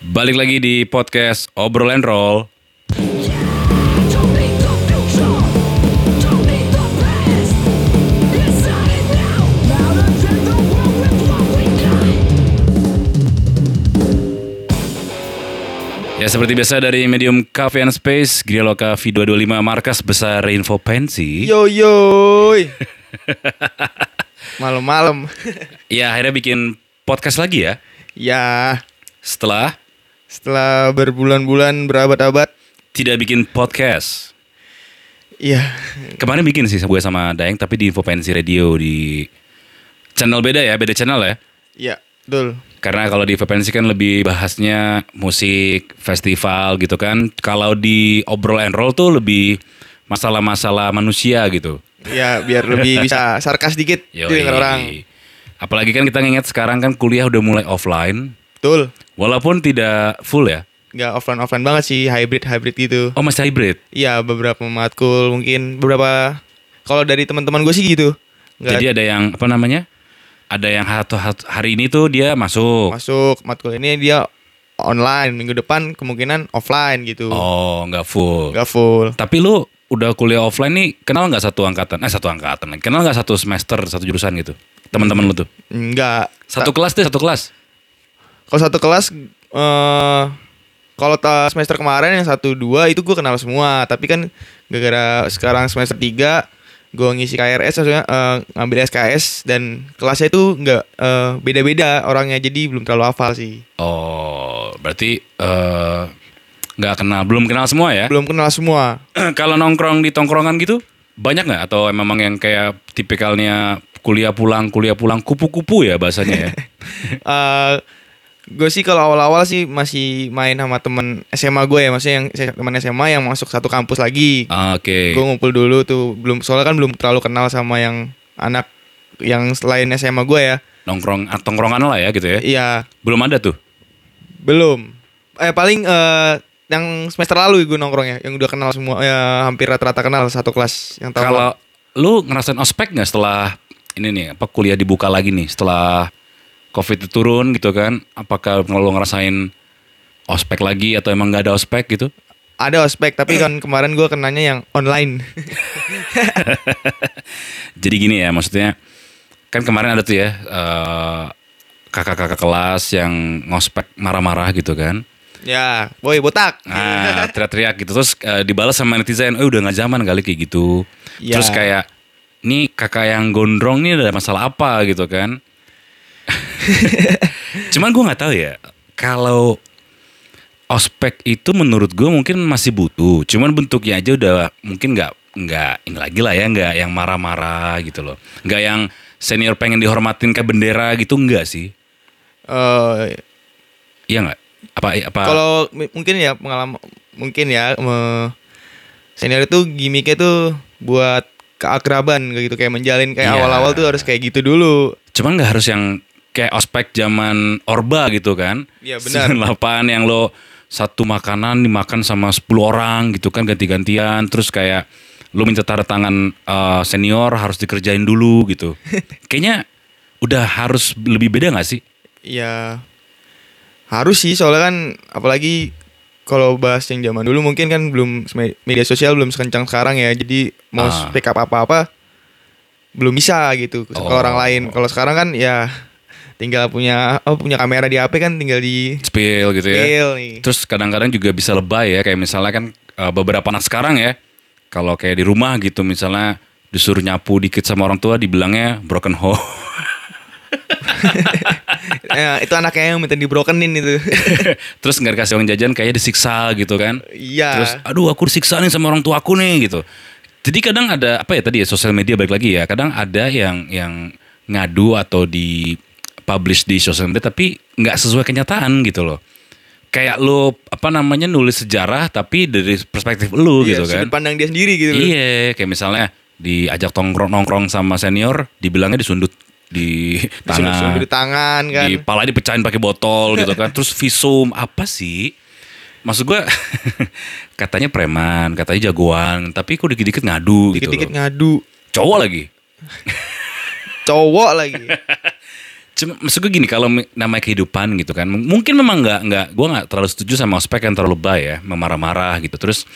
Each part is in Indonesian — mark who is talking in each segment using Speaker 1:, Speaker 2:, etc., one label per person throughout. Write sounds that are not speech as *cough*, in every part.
Speaker 1: Balik lagi di podcast Obrol and Roll.
Speaker 2: Don't be the future. Don't be the past. Decide now. Louder than the world with what we got.
Speaker 1: Ya seperti biasa dari medium Cafe and Space, Grialoka V225 markas besar Info Pensi.
Speaker 3: Yo yo. Malam-malam.
Speaker 1: Ya akhirnya bikin podcast lagi *laughs* ya.
Speaker 3: ya,
Speaker 1: Setelah
Speaker 3: setelah berbulan-bulan berabad-abad,
Speaker 1: tidak bikin podcast.
Speaker 3: ya
Speaker 1: Kemarin bikin sih gue sama Daeng tapi di Info Pensi Radio di channel beda ya, beda channel ya.
Speaker 3: ya, betul.
Speaker 1: Karena kalau di Vapensi kan lebih bahasnya musik, festival gitu kan. Kalau di obrol and roll tuh lebih masalah-masalah manusia gitu.
Speaker 3: Ya, biar lebih
Speaker 1: *laughs*
Speaker 3: bisa sarkas dikit
Speaker 1: Yoi.
Speaker 3: dengan orang.
Speaker 1: Apalagi kan kita nginget sekarang kan kuliah udah mulai offline.
Speaker 3: Betul.
Speaker 1: Walaupun tidak full ya.
Speaker 3: Nggak offline-offline banget sih, hybrid-hybrid gitu.
Speaker 1: Oh masih hybrid.
Speaker 3: Iya, beberapa matkul mungkin beberapa kalau dari teman-teman gue sih gitu.
Speaker 1: Jadi
Speaker 3: Nggak
Speaker 1: ada yang apa namanya? Ada yang hat- hat- hari ini tuh dia masuk.
Speaker 3: masuk matkul ini dia online minggu depan kemungkinan offline gitu.
Speaker 1: Oh nggak full.
Speaker 3: Nggak full.
Speaker 1: Tapi lu udah kuliah offline nih kenal nggak satu angkatan? Eh satu angkatan. lagi. Kenal nggak satu semester satu jurusan gitu? Teman-teman lu tuh?
Speaker 3: Enggak.
Speaker 1: Satu kelas deh, satu kelas.
Speaker 3: Kalau satu kelas eh kalau ta- semester kemarin yang satu dua itu gue kenal semua, tapi kan gara-gara sekarang semester tiga gue ngisi KRS maksudnya eh, ngambil SKS dan kelasnya itu nggak eh, beda-beda orangnya jadi belum terlalu hafal sih.
Speaker 1: Oh, berarti eh, nggak kenal, belum kenal semua ya?
Speaker 3: Belum kenal semua.
Speaker 1: *clears throat* Kalau nongkrong di tongkrongan gitu banyak nggak? Atau memang yang kayak tipikalnya kuliah pulang, kuliah pulang, kupu-kupu ya bahasanya ya?
Speaker 3: eh gue sih kalau awal-awal sih masih main sama temen SMA gue ya maksudnya yang teman SMA yang masuk satu kampus lagi
Speaker 1: Ah, Oke.
Speaker 3: gue ngumpul dulu tuh belum soalnya kan belum terlalu kenal sama yang anak yang selain SMA gue ya
Speaker 1: Nongkrong, ah, tongkrongan lah ya gitu ya?
Speaker 3: iya
Speaker 1: Belum ada tuh.
Speaker 3: belum eh paling eh yang semester lalu gue nongkrongnya yang udah kenal semua ya hampir rata-rata kenal satu kelas yang tahu
Speaker 1: Kalau lu ngerasain ospek nggak setelah ini nih apa kuliah dibuka lagi nih setelah covid itu turun gitu kan? Apakah lu ngerasain ospek lagi atau emang nggak ada ospek gitu?
Speaker 3: ada ospek tapi kan kemarin gue kenanya yang
Speaker 1: *laughs*
Speaker 3: online
Speaker 1: Jadi gini ya, maksudnya kan kemarin ada tuh ya eh, kakak-kakak kelas yang ngospek marah-marah gitu kan.
Speaker 3: ya boy botak
Speaker 1: Nah, teriak-teriak gitu terus eh, dibalas sama netizen, "Eh udah nggak zaman kali kayak gitu."
Speaker 3: Ya.
Speaker 1: Terus kayak nih kakak yang gondrong nih ada masalah apa gitu kan. *laughs* Cuman gua nggak tahu ya kalau ospek itu menurut gue mungkin masih butuh. Cuman bentuknya aja udah mungkin nggak nggak ini lagi lah ya nggak yang marah-marah gitu loh. Nggak yang senior pengen dihormatin ke bendera gitu enggak sih?
Speaker 3: Eh,
Speaker 1: Iya nggak? Apa apa?
Speaker 3: kalau mi- mungkin ya pengalaman mungkin ya me- senior itu gimmicknya tuh buat keakraban kayak gitu kayak menjalin kayak
Speaker 1: Iya.
Speaker 3: awal-awal tuh harus kayak gitu dulu
Speaker 1: Cuman nggak harus yang kayak ospek zaman Orba gitu kan?
Speaker 3: Iya, benar.
Speaker 1: 98 yang lo satu makanan dimakan sama 10 orang gitu kan ganti-gantian terus kayak lo minta tanda tangan eh, senior harus dikerjain dulu
Speaker 3: *laughs*
Speaker 1: gitu. Kayaknya udah harus lebih beda nggak sih?
Speaker 3: Ya harus sih soalnya kan apalagi kalau bahas yang zaman dulu mungkin kan belum sme- media sosial belum sekencang sekarang ya. Jadi mau
Speaker 1: Ah.
Speaker 3: pick up apa-apa belum bisa gitu kalau
Speaker 1: Oh.
Speaker 3: orang lain. Kalau sekarang kan ya tinggal punya oh punya kamera di HP kan tinggal di
Speaker 1: Spill gitu ya.
Speaker 3: Spill nih. *laughs*
Speaker 1: Terus kadang-kadang juga bisa lebay ya kayak misalnya kan eh, beberapa anak sekarang ya kalau kayak di rumah gitu misalnya disuruh nyapu dikit sama orang tua dibilangnya broken home.
Speaker 3: Ya, itu anaknya yang minta di brokenin
Speaker 1: *laughs*
Speaker 3: itu.
Speaker 1: Terus nggak dikasih uang jajan kayaknya disiksa gitu kan.
Speaker 3: Iya.
Speaker 1: Terus aduh aku disiksa nih sama orang tua aku nih gitu. Jadi kadang ada apa ya tadi ya sosial media balik lagi ya. Kadang ada yang yang ngadu atau di publish di sosial media tapi nggak sesuai kenyataan gitu loh. Kayak lo apa namanya nulis sejarah tapi dari perspektif lo
Speaker 3: Iya,
Speaker 1: gitu kan.
Speaker 3: sudut pandang dia sendiri gitu loh.
Speaker 1: Iya, kayak misalnya diajak tongkrong nongkrong sama senior, dibilangnya disundut di tanah,
Speaker 3: Sudut tangan kan.
Speaker 1: di pala dipecahin pakai botol gitu kan. Terus visum apa sih? Maksud gua *laughs* katanya preman, katanya jagoan, tapi kok dikit-dikit ngadu gitu.
Speaker 3: Dikit-dikit
Speaker 1: loh.
Speaker 3: ngadu.
Speaker 1: *laughs* Cowok lagi.
Speaker 3: Cowok lagi.
Speaker 1: Cuma, maksud gue gini, kalau mi- namanya kehidupan gitu kan, m- mungkin memang nggak nggak, gue nggak terlalu setuju sama ospek yang terlalu lebay ya, memarah-marah gitu, terus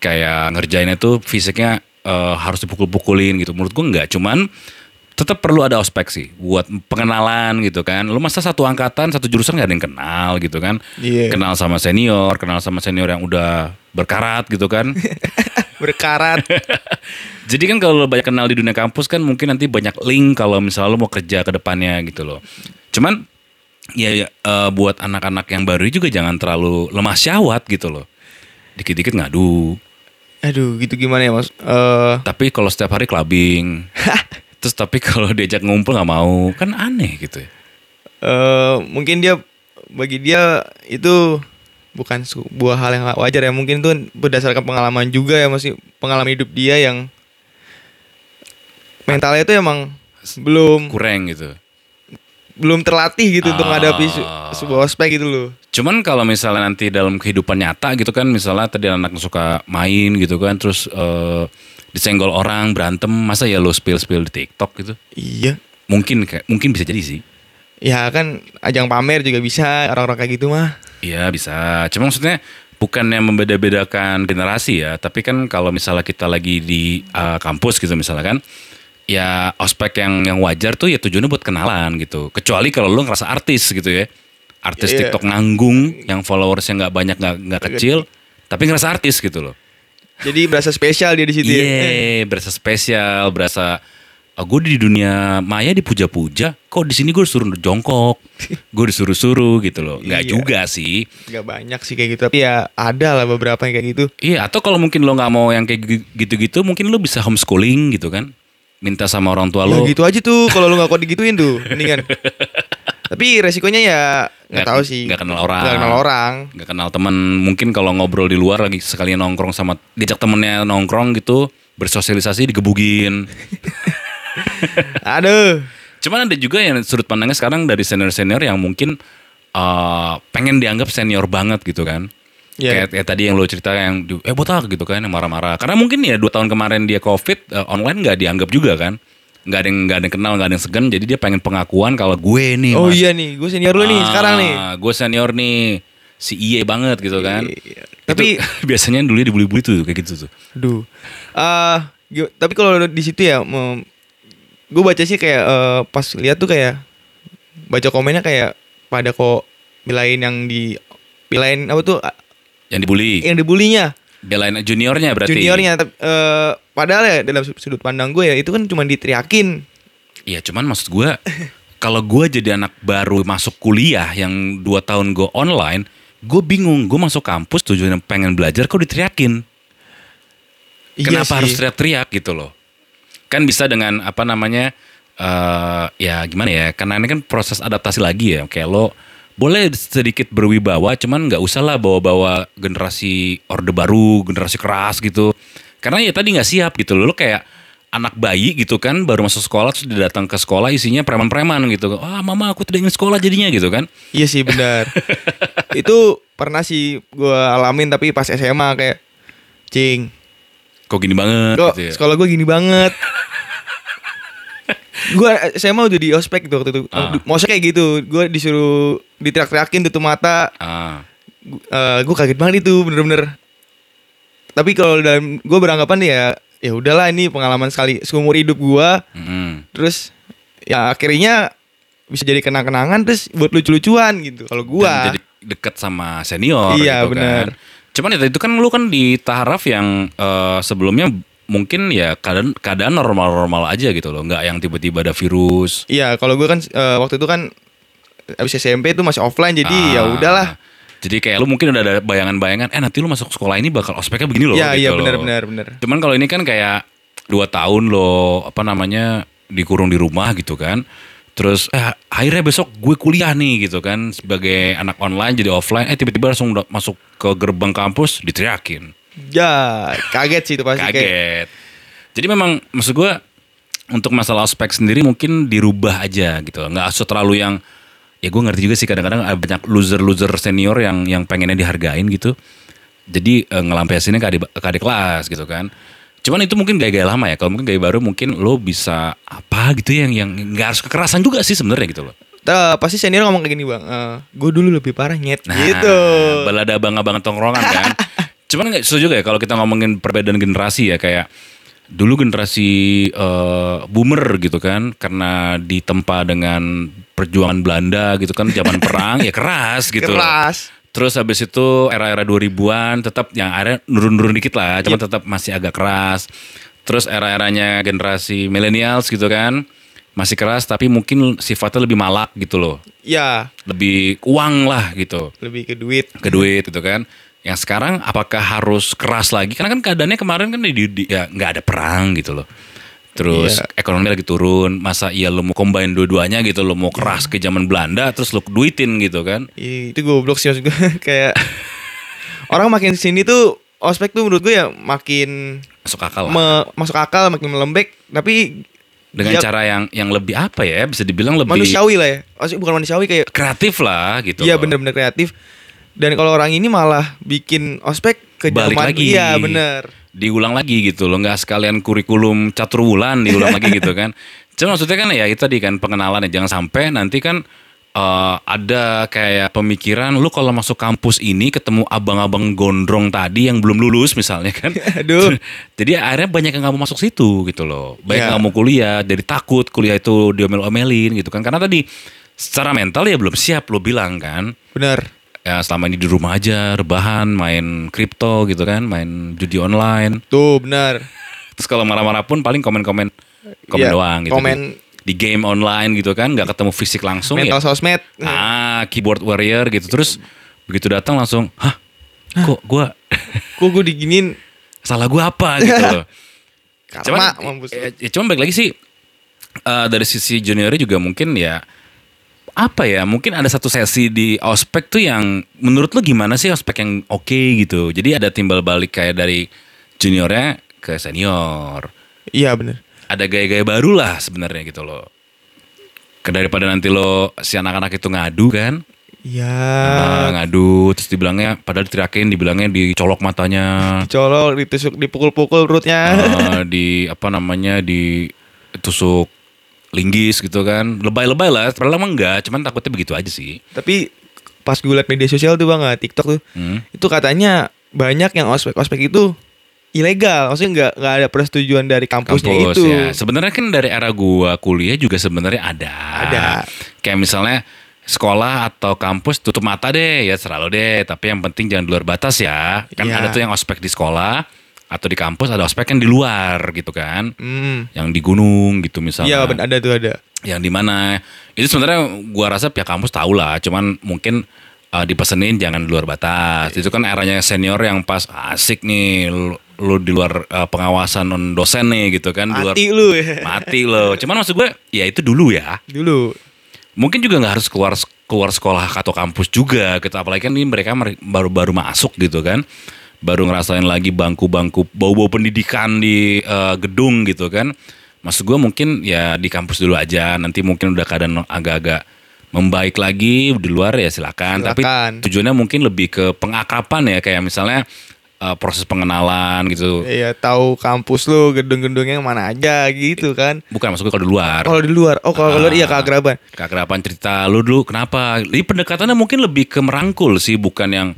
Speaker 1: kayak ngerjainnya tuh fisiknya eh, harus dipukul-pukulin gitu. Menurut gue nggak, cuman tetap perlu ada ospek sih, buat pengenalan gitu kan. Lu masa satu angkatan, satu jurusan nggak ada yang kenal gitu kan?
Speaker 3: Iya.
Speaker 1: Kenal sama senior, kenal sama senior yang udah berkarat gitu kan.
Speaker 3: berkarat
Speaker 1: *laughs* Jadi kan kalau lo banyak kenal di dunia kampus kan mungkin nanti banyak link kalau misalnya lo mau kerja ke depannya gitu loh. Cuman ya, ya, eh, buat anak-anak yang baru juga jangan terlalu lemah syahwat gitu loh. Dikit-dikit ngadu.
Speaker 3: aduh gitu gimana ya mas Eh,
Speaker 1: Tapi kalau setiap hari clubbing. Terus tapi kalau diajak ngumpul nggak mau. Kan aneh gitu ya.
Speaker 3: eh, mungkin dia bagi dia itu bukan sebuah hal yang wajar ya mungkin itu berdasarkan pengalaman juga ya masih pengalaman hidup dia yang mentalnya itu emang belum
Speaker 1: Kurang gitu.
Speaker 3: belum terlatih gitu
Speaker 1: Ah.
Speaker 3: untuk menghadapi se- sebuah ospek gitu loh
Speaker 1: Cuman kalau misalnya nanti dalam kehidupan nyata gitu kan misalnya tadi anak suka main gitu kan terus eh, disenggol orang berantem masa ya lo spill-spill di TikTok gitu.
Speaker 3: iya
Speaker 1: Mungkin kayak mungkin bisa jadi sih.
Speaker 3: ya kan ajang pamer juga bisa orang-orang kayak gitu mah
Speaker 1: Iya bisa. Cuma maksudnya bukan yang membeda-bedakan generasi ya, tapi kan kalau misalnya kita lagi di uh, kampus gitu misalnya kan, ya ospek yang yang wajar tuh ya tujuannya buat kenalan gitu. Kecuali kalau lu ngerasa artis gitu ya. Artis
Speaker 3: Iya.
Speaker 1: TikTok nganggung yang followersnya nggak banyak nggak nggak kecil, tapi ngerasa artis gitu loh.
Speaker 3: jadi berasa spesial dia di situ
Speaker 1: Iya,
Speaker 3: ya
Speaker 1: berasa spesial, berasa oh, gue di dunia maya dipuja-puja, kok di sini gue disuruh
Speaker 3: *laughs*
Speaker 1: jongkok, gue disuruh-suruh gitu loh. Nggak
Speaker 3: Iya.
Speaker 1: juga sih.
Speaker 3: nggak banyak sih kayak gitu tapi ya ada lah beberapa yang kayak gitu
Speaker 1: Iya, atau kalau mungkin lo nggak mau yang kayak gi- gitu-gitu, mungkin lo bisa homeschooling gitu kan? Minta sama orang tua lo.
Speaker 3: Ya gitu aja tuh kalau lu nggak kuat digituin tuh,
Speaker 1: *laughs*
Speaker 3: mendingan. Tapi resikonya ya nggak tahu sih.
Speaker 1: Nggak kenal orang.
Speaker 3: Nggak kenal orang.
Speaker 1: Nggak kenal teman. Mungkin kalau ngobrol di luar lagi sekalian nongkrong sama diajak temennya nongkrong gitu, bersosialisasi digebugin.
Speaker 3: Aduh.
Speaker 1: Cuman ada juga yang sudut pandangnya sekarang dari senior-senior yang mungkin eh, pengen dianggap senior banget gitu kan.
Speaker 3: Iya.
Speaker 1: Kayak, kayak tadi yang lo cerita yang di- eh botak gitu kan yang marah-marah. Karena mungkin ya dua tahun kemarin dia covid eh, online nggak dianggap juga kan. Nggak ada yang nggak ada yang kenal nggak ada yang segan. Jadi dia pengen pengakuan kalau gue nih.
Speaker 3: Oh
Speaker 1: Mas.
Speaker 3: iya nih, gue senior lu nih
Speaker 1: Ah,
Speaker 3: sekarang nih.
Speaker 1: Gue senior nih si iye banget gitu kan.
Speaker 3: Iya. Tapi-
Speaker 1: Itu *laughs* biasanya dulu dibully-bully tuh kayak gitu tuh.
Speaker 3: Aduh. Ah, gi- tapi kalau di situ ya gue baca sih kayak eh, pas lihat tuh kayak baca komennya kayak pada kok belain yang di belain apa tuh ah,
Speaker 1: Yang dibully.
Speaker 3: yang dibulinya
Speaker 1: Dia lain juniornya berarti.
Speaker 3: juniornya tapi eh, padahal ya dalam sud- sudut pandang gue ya itu kan cuma diteriakin
Speaker 1: Iya cuman maksud gue kalau gue jadi anak baru masuk kuliah yang dua tahun gue online, gue bingung gue masuk kampus tujuannya pengen belajar kok diteriakin.
Speaker 3: Iya
Speaker 1: Kenapa
Speaker 3: sih.
Speaker 1: harus teriak-teriak gitu loh? Kan bisa dengan apa namanya eh ya gimana ya? Karena ini kan proses adaptasi lagi ya. Kayak lo boleh sedikit berwibawa, cuman nggak usah lah bawa-bawa generasi orde baru, generasi keras gitu. Karena ya tadi nggak siap gitu loh. Lo kayak anak bayi gitu kan baru masuk sekolah terus dia datang ke sekolah isinya preman-preman gitu. Ah mama aku tidak ingin sekolah jadinya gitu kan.
Speaker 3: Iya sih
Speaker 1: *laughs*
Speaker 3: benar. itu pernah sih gua alamin tapi pas SMA kayak cing
Speaker 1: Kok gini banget
Speaker 3: kok
Speaker 1: gitu ya.
Speaker 3: sekolah gue gini banget. gua SMA udah di ospek tuh waktu itu.
Speaker 1: Ah.
Speaker 3: Aduh, Maksudnya kayak gitu, gua disuruh diteriak-teriakin tutup mata.
Speaker 1: Ah,
Speaker 3: Gu- eh, Gua kaget banget itu bener-bener. Tapi kalau dalam gua beranggapan ya ya udahlah ini pengalaman sekali seumur hidup gua
Speaker 1: mm-mm.
Speaker 3: terus ya akhirnya bisa jadi kenang-kenangan terus buat lucu-lucuan gitu kalau gua
Speaker 1: Dan jadi dekat sama senior
Speaker 3: Iya,
Speaker 1: gitu
Speaker 3: benar.
Speaker 1: kan. Cuman itu, itu kan lu kan di taraf yang eh, sebelumnya mungkin ya keadaan keadaan normal-normal aja gitu loh, nggak yang tiba-tiba ada virus.
Speaker 3: Iya, kalau gue kan eh, waktu itu kan abis SMP itu masih offline jadi
Speaker 1: Ah,
Speaker 3: ya udahlah.
Speaker 1: Jadi kayak lu mungkin udah ada bayangan-bayangan, eh nanti lu masuk sekolah ini bakal ospeknya begini loh.
Speaker 3: Iya,
Speaker 1: gitu
Speaker 3: iya
Speaker 1: loh.
Speaker 3: benar-benar benar.
Speaker 1: Cuman kalau ini kan kayak dua tahun lo apa namanya dikurung di rumah gitu kan. Terus eh, akhirnya besok gue kuliah nih gitu kan sebagai anak online jadi offline. Eh tiba-tiba langsung udah masuk ke gerbang kampus diteriakin
Speaker 3: Ya, kaget sih itu pasti kayak
Speaker 1: kaget. Jadi memang maksud gue untuk masalah ospek sendiri mungkin dirubah aja gitu. Nggak usah terlalu yang ya gue ngerti juga sih kadang-kadang ada banyak loser-loser senior yang yang pengennya dihargain gitu. Jadi eh, ngelampiasinnya ke adik, ke adik kelas gitu kan. Cuman itu mungkin gaya-gaya lama ya. Kalau mungkin gaya baru mungkin lo bisa apa gitu ya, yang yang nggak harus kekerasan juga sih sebenarnya gitu loh.
Speaker 3: Ta- pasti senior ngomong kayak gini bang gue dulu lebih parah nyet
Speaker 1: Nah,
Speaker 3: gitu
Speaker 1: Balada abang-abang tongkrongan
Speaker 3: *laughs*
Speaker 1: kan. Cuman nggak setuju ya kalau kita ngomongin perbedaan generasi ya kayak dulu generasi eh, boomer gitu kan karena ditempa dengan perjuangan Belanda gitu kan zaman perang ya keras gitu.
Speaker 3: keras
Speaker 1: Terus habis itu era-era 2000-an tetap yang akhirnya nurun-nurun dikit lah,
Speaker 3: Iya.
Speaker 1: cuman tetap masih agak keras. Terus era-eranya generasi millennials gitu kan masih keras tapi mungkin sifatnya lebih malak gitu loh.
Speaker 3: ya
Speaker 1: Lebih uang lah gitu
Speaker 3: lebih ke duit
Speaker 1: ke duit gitu kan. Yang sekarang apakah harus keras lagi? Karena kan keadaannya kemarin kan di, di- ya nggak ada perang gitu loh. Terus
Speaker 3: Iya.
Speaker 1: ekonomi lagi turun, masa iya lo mau combine dua-duanya gitu, lo mau
Speaker 3: Iya.
Speaker 1: keras ke zaman Belanda, terus lo duitin gitu kan?
Speaker 3: Ih, itu goblok sih maksud gue *laughs* kayak orang makin sini tuh ospek tuh menurut gue ya makin
Speaker 1: Masuk akal lah.
Speaker 3: me- masuk akal makin melembek tapi
Speaker 1: Dengan
Speaker 3: ya,
Speaker 1: cara yang yang lebih apa ya? Bisa dibilang lebih
Speaker 3: manusiawi lah ya Maksudnya bukan manusiawi kayak
Speaker 1: kreatif lah gitu.
Speaker 3: Iya
Speaker 1: loh.
Speaker 3: bener-bener kreatif. Dan kalau orang ini malah bikin ospek ke
Speaker 1: Balik
Speaker 3: zaman-
Speaker 1: lagi.
Speaker 3: Iya bener.
Speaker 1: Diulang lagi gitu loh, nggak sekalian kurikulum catur bulan diulang lagi gitu
Speaker 3: *laughs*
Speaker 1: kan. Cuma maksudnya kan ya itu tadi kan pengenalan ya, jangan sampai nanti kan eh, ada kayak pemikiran lu kalau masuk kampus ini ketemu abang-abang gondrong tadi yang belum lulus misalnya kan.
Speaker 3: *laughs* Aduh.
Speaker 1: *laughs* Jadi akhirnya banyak yang nggak mau masuk situ gitu loh. Banyak yang
Speaker 3: Iya.
Speaker 1: nggak mau kuliah, jadi takut kuliah itu diomel-omelin gitu kan. Karena tadi secara mental ya belum siap lu bilang kan
Speaker 3: Bener.
Speaker 1: ya selama ini di rumah aja rebahan main kripto gitu kan main judi online
Speaker 3: Tuh bener.
Speaker 1: terus kalau marah-marah pun paling komen-komen komen
Speaker 3: Iya,
Speaker 1: doang gitu
Speaker 3: komen.
Speaker 1: di, di game online gitu kan nggak ketemu fisik langsung
Speaker 3: Mental
Speaker 1: ya
Speaker 3: sosmed.
Speaker 1: ah keyboard warrior gitu terus begitu datang langsung hah kok gua *laughs*
Speaker 3: Kok gue diginin
Speaker 1: salah gua apa gitu loh
Speaker 3: karma mampus.
Speaker 1: eh, ya, cuman balik lagi sih eh, dari sisi juniornya juga mungkin ya apa ya mungkin ada satu sesi di ospek tuh yang menurut lo gimana sih ospek yang oke gitu jadi ada timbal balik kayak dari juniornya ke senior
Speaker 3: Iya bener.
Speaker 1: ada gaya-gaya baru lah sebenarnya gitu loh Ke- daripada nanti lo si anak-anak itu ngadu kan
Speaker 3: Iya.
Speaker 1: Ah, ngadu terus dibilangnya padahal diterakin dibilangnya dicolok matanya
Speaker 3: Dicolok, ditusuk, dipukul-pukul perutnya.
Speaker 1: Eh, di apa namanya di tusuk linggis gitu kan lebay-lebay lah padahal emang enggak cuman takutnya begitu aja sih
Speaker 3: Tapi pas gue liat media sosial tuh bang, nggak, TikTok tuh.
Speaker 1: Hmm.
Speaker 3: Itu katanya banyak yang ospek-ospek itu ilegal. Maksudnya nggak nggak ada persetujuan dari kampusnya
Speaker 1: kampus
Speaker 3: itu.
Speaker 1: ya sebenarnya kan dari era gua kuliah juga sebenarnya ada
Speaker 3: Ada.
Speaker 1: kayak misalnya sekolah atau kampus tutup mata deh ya serah lo deh tapi yang penting jangan di luar batas ya kan
Speaker 3: Iya.
Speaker 1: ada tuh yang ospek di sekolah atau di kampus ada ospek yang di luar gitu kan
Speaker 3: Hmm.
Speaker 1: yang di gunung gitu misalnya
Speaker 3: Iya bener, ada tuh ada.
Speaker 1: yang di mana itu sebenarnya gua rasa pihak kampus tahu lah cuman mungkin uh, dipesenin jangan di luar batas itu kan eranya senior yang pas asik nih lu, lu di luar uh, pengawasan non dosen nih gitu kan di luar
Speaker 3: Mati lu ya.
Speaker 1: mati lo cuman maksud gue ya itu dulu ya
Speaker 3: Dulu.
Speaker 1: mungkin juga nggak harus keluar keluar sekolah atau kampus juga gitu apalagi kan ini mereka mer- baru-baru masuk gitu kan baru ngerasain lagi bangku-bangku bau-bau pendidikan di eh, gedung gitu kan maksud gue mungkin ya di kampus dulu aja nanti mungkin udah keadaan agak-agak membaik lagi di luar ya silakan, tapi
Speaker 3: Silakan.
Speaker 1: tujuannya mungkin lebih ke pengakapan ya kayak misalnya eh, proses pengenalan gitu
Speaker 3: Iya tahu kampus lu gedung-gedungnya yang mana aja gitu kan.
Speaker 1: bukan maksud gue kalau di luar
Speaker 3: Kalau di luar, oh kalau di luar iya keakraban.
Speaker 1: Ah. keakraban cerita lu dulu kenapa ini pendekatannya mungkin lebih ke merangkul sih bukan yang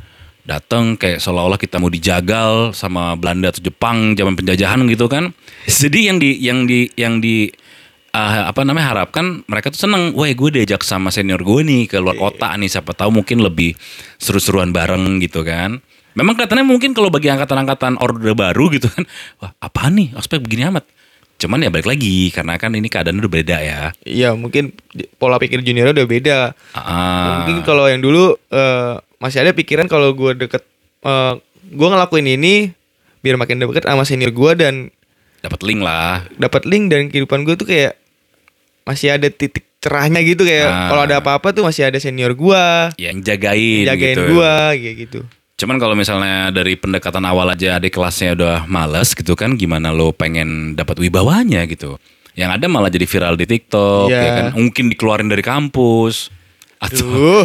Speaker 1: datang kayak seolah-olah kita mau dijagal sama Belanda atau Jepang zaman penjajahan gitu
Speaker 3: *laughs*
Speaker 1: kan jadi yang di yang di yang di ah, apa namanya harapkan mereka tuh seneng, wah gue diajak sama senior gue nih ke
Speaker 3: Iya.
Speaker 1: luar kota nih siapa tahu mungkin lebih seru-seruan bareng gitu kan. Memang kelihatannya mungkin kalau bagi angkatan-angkatan orde baru gitu kan, wah apa nih ospek begini amat. Cuman ya balik lagi karena kan ini keadaan udah beda ya.
Speaker 3: Iya mungkin di- pola pikir junior udah beda.
Speaker 1: Ah.
Speaker 3: Mungkin kalau yang dulu eh, masih ada pikiran kalau gua deket, eh, gua ngelakuin ini biar makin deket sama senior gua dan
Speaker 1: dapat link lah.
Speaker 3: dapat link dan kehidupan gue tuh kayak masih ada titik cerahnya gitu kayak
Speaker 1: Ah.
Speaker 3: kalau ada apa-apa tuh masih ada senior gua
Speaker 1: Ya, Yang jagain,
Speaker 3: jagain
Speaker 1: gitu.
Speaker 3: gua kayak gitu.
Speaker 1: Cuman kalau misalnya dari pendekatan awal aja adik kelasnya udah males gitu kan gimana lo pengen dapat wibawanya gitu. Yang ada malah jadi viral di TikTok
Speaker 3: Iya.
Speaker 1: ya kan. Mungkin dikeluarin dari kampus atau
Speaker 3: Duh.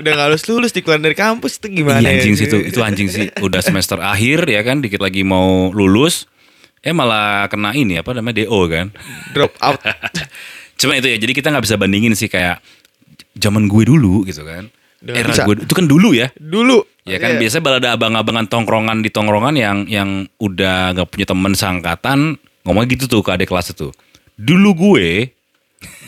Speaker 3: udah nggak lulus lulus dikeluarin dari kampus itu gimana?
Speaker 1: *laughs* Iya, anjing
Speaker 3: ya?
Speaker 1: sih itu, itu anjing sih. Udah semester akhir ya kan dikit lagi mau lulus eh malah kena ini apa namanya DO kan.
Speaker 3: drop out.
Speaker 1: *laughs* Cuma itu ya, jadi kita nggak bisa bandingin sih kayak zaman gue dulu gitu kan.
Speaker 3: Dengan
Speaker 1: Era
Speaker 3: bisa.
Speaker 1: gue itu kan dulu ya.
Speaker 3: Dulu.
Speaker 1: Ya kan
Speaker 3: Iya.
Speaker 1: biasa balada abang-abangan tongkrongan di tongkrongan yang yang udah nggak punya temen sangkatan ngomong gitu tuh ke adik kelas itu. Dulu gue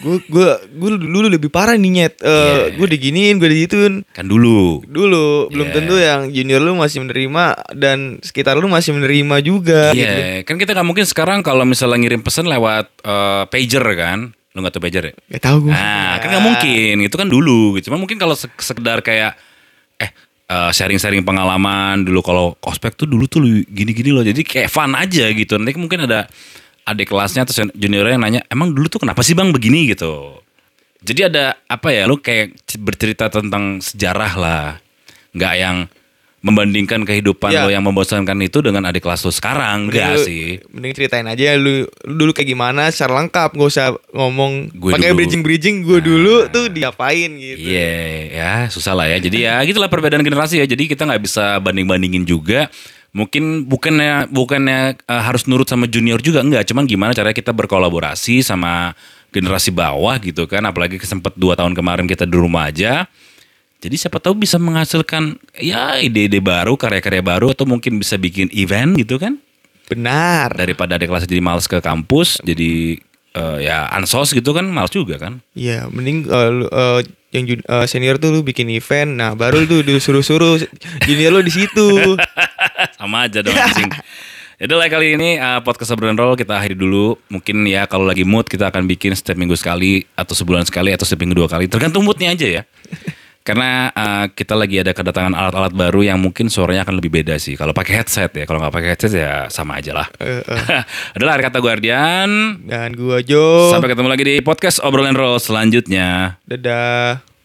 Speaker 3: Gue gue gue dulu lebih parah nih nyet.
Speaker 1: Iya,
Speaker 3: Eh, Gue diginiin, gue digituin.
Speaker 1: kan dulu
Speaker 3: Dulu belum
Speaker 1: Iya.
Speaker 3: tentu yang junior lu masih menerima dan sekitar lu masih menerima juga.
Speaker 1: Iya, kan kita nggak mungkin sekarang kalau misalnya ngirim pesan lewat eh, pager kan, lu nggak tahu pager ya?
Speaker 3: Gak tau gue.
Speaker 1: Nah, kan nggak mungkin, itu kan dulu. gitu. Cuma mungkin kalau se- sekedar kayak eh eh, sharing-sharing pengalaman dulu kalau ospek tuh dulu tuh lu gini-gini loh. Jadi kayak fun aja gitu. Nanti mungkin ada adik kelasnya atau sen- juniornya yang nanya, emang dulu tuh kenapa sih bang begini gitu? Jadi ada apa ya? Lu kayak c- bercerita tentang sejarah lah, nggak yang membandingkan kehidupan
Speaker 3: Iya.
Speaker 1: lo yang membosankan itu dengan adik kelas lo sekarang
Speaker 3: Mending
Speaker 1: enggak
Speaker 3: lu-
Speaker 1: sih
Speaker 3: Mending ceritain aja lu, lu dulu kayak gimana secara lengkap, gak usah ngomong
Speaker 1: Gue dulu.
Speaker 3: pakai
Speaker 1: Nah.
Speaker 3: bridging-bridging gue dulu tuh diapain gitu.
Speaker 1: Iya, ya susah lah ya. Jadi ya gitulah perbedaan generasi ya. Jadi kita nggak bisa banding bandingin juga. Mungkin bukannya bukannya eh, harus nurut sama junior juga enggak. Cuman gimana cara kita berkolaborasi sama generasi bawah gitu kan. Apalagi sempat dua tahun kemarin kita di rumah aja. Jadi siapa tahu bisa menghasilkan ya ide-ide baru, karya-karya baru atau mungkin bisa bikin event gitu kan.
Speaker 3: Benar.
Speaker 1: Daripada ada kelas jadi males ke kampus, jadi eh, ya ansos gitu kan males juga kan.
Speaker 3: Iya, mending eh, lu, eh, yang jun- eh, senior tuh lu bikin event, nah baru lu tuh disuruh-suruh junior lu di situ.
Speaker 1: *laughs* sama aja dong
Speaker 3: Iya.
Speaker 1: anjing. Jadi lah kali ini uh, podcast Obrolan Roll kita akhiri dulu. Mungkin ya kalau lagi mood kita akan bikin setiap minggu sekali atau sebulan sekali atau setiap minggu dua kali. Tergantung moodnya aja ya. Karena uh, kita lagi ada kedatangan alat-alat baru yang mungkin suaranya akan lebih beda sih. Kalau pakai headset ya, kalau nggak pakai headset ya sama aja lah.
Speaker 3: Eh, eh.
Speaker 1: *laughs*
Speaker 3: Oh.
Speaker 1: Adalah kata Guardian.
Speaker 3: Dan gua Jo.
Speaker 1: Sampai ketemu lagi di podcast Obrolan Roll selanjutnya.
Speaker 3: Dadah.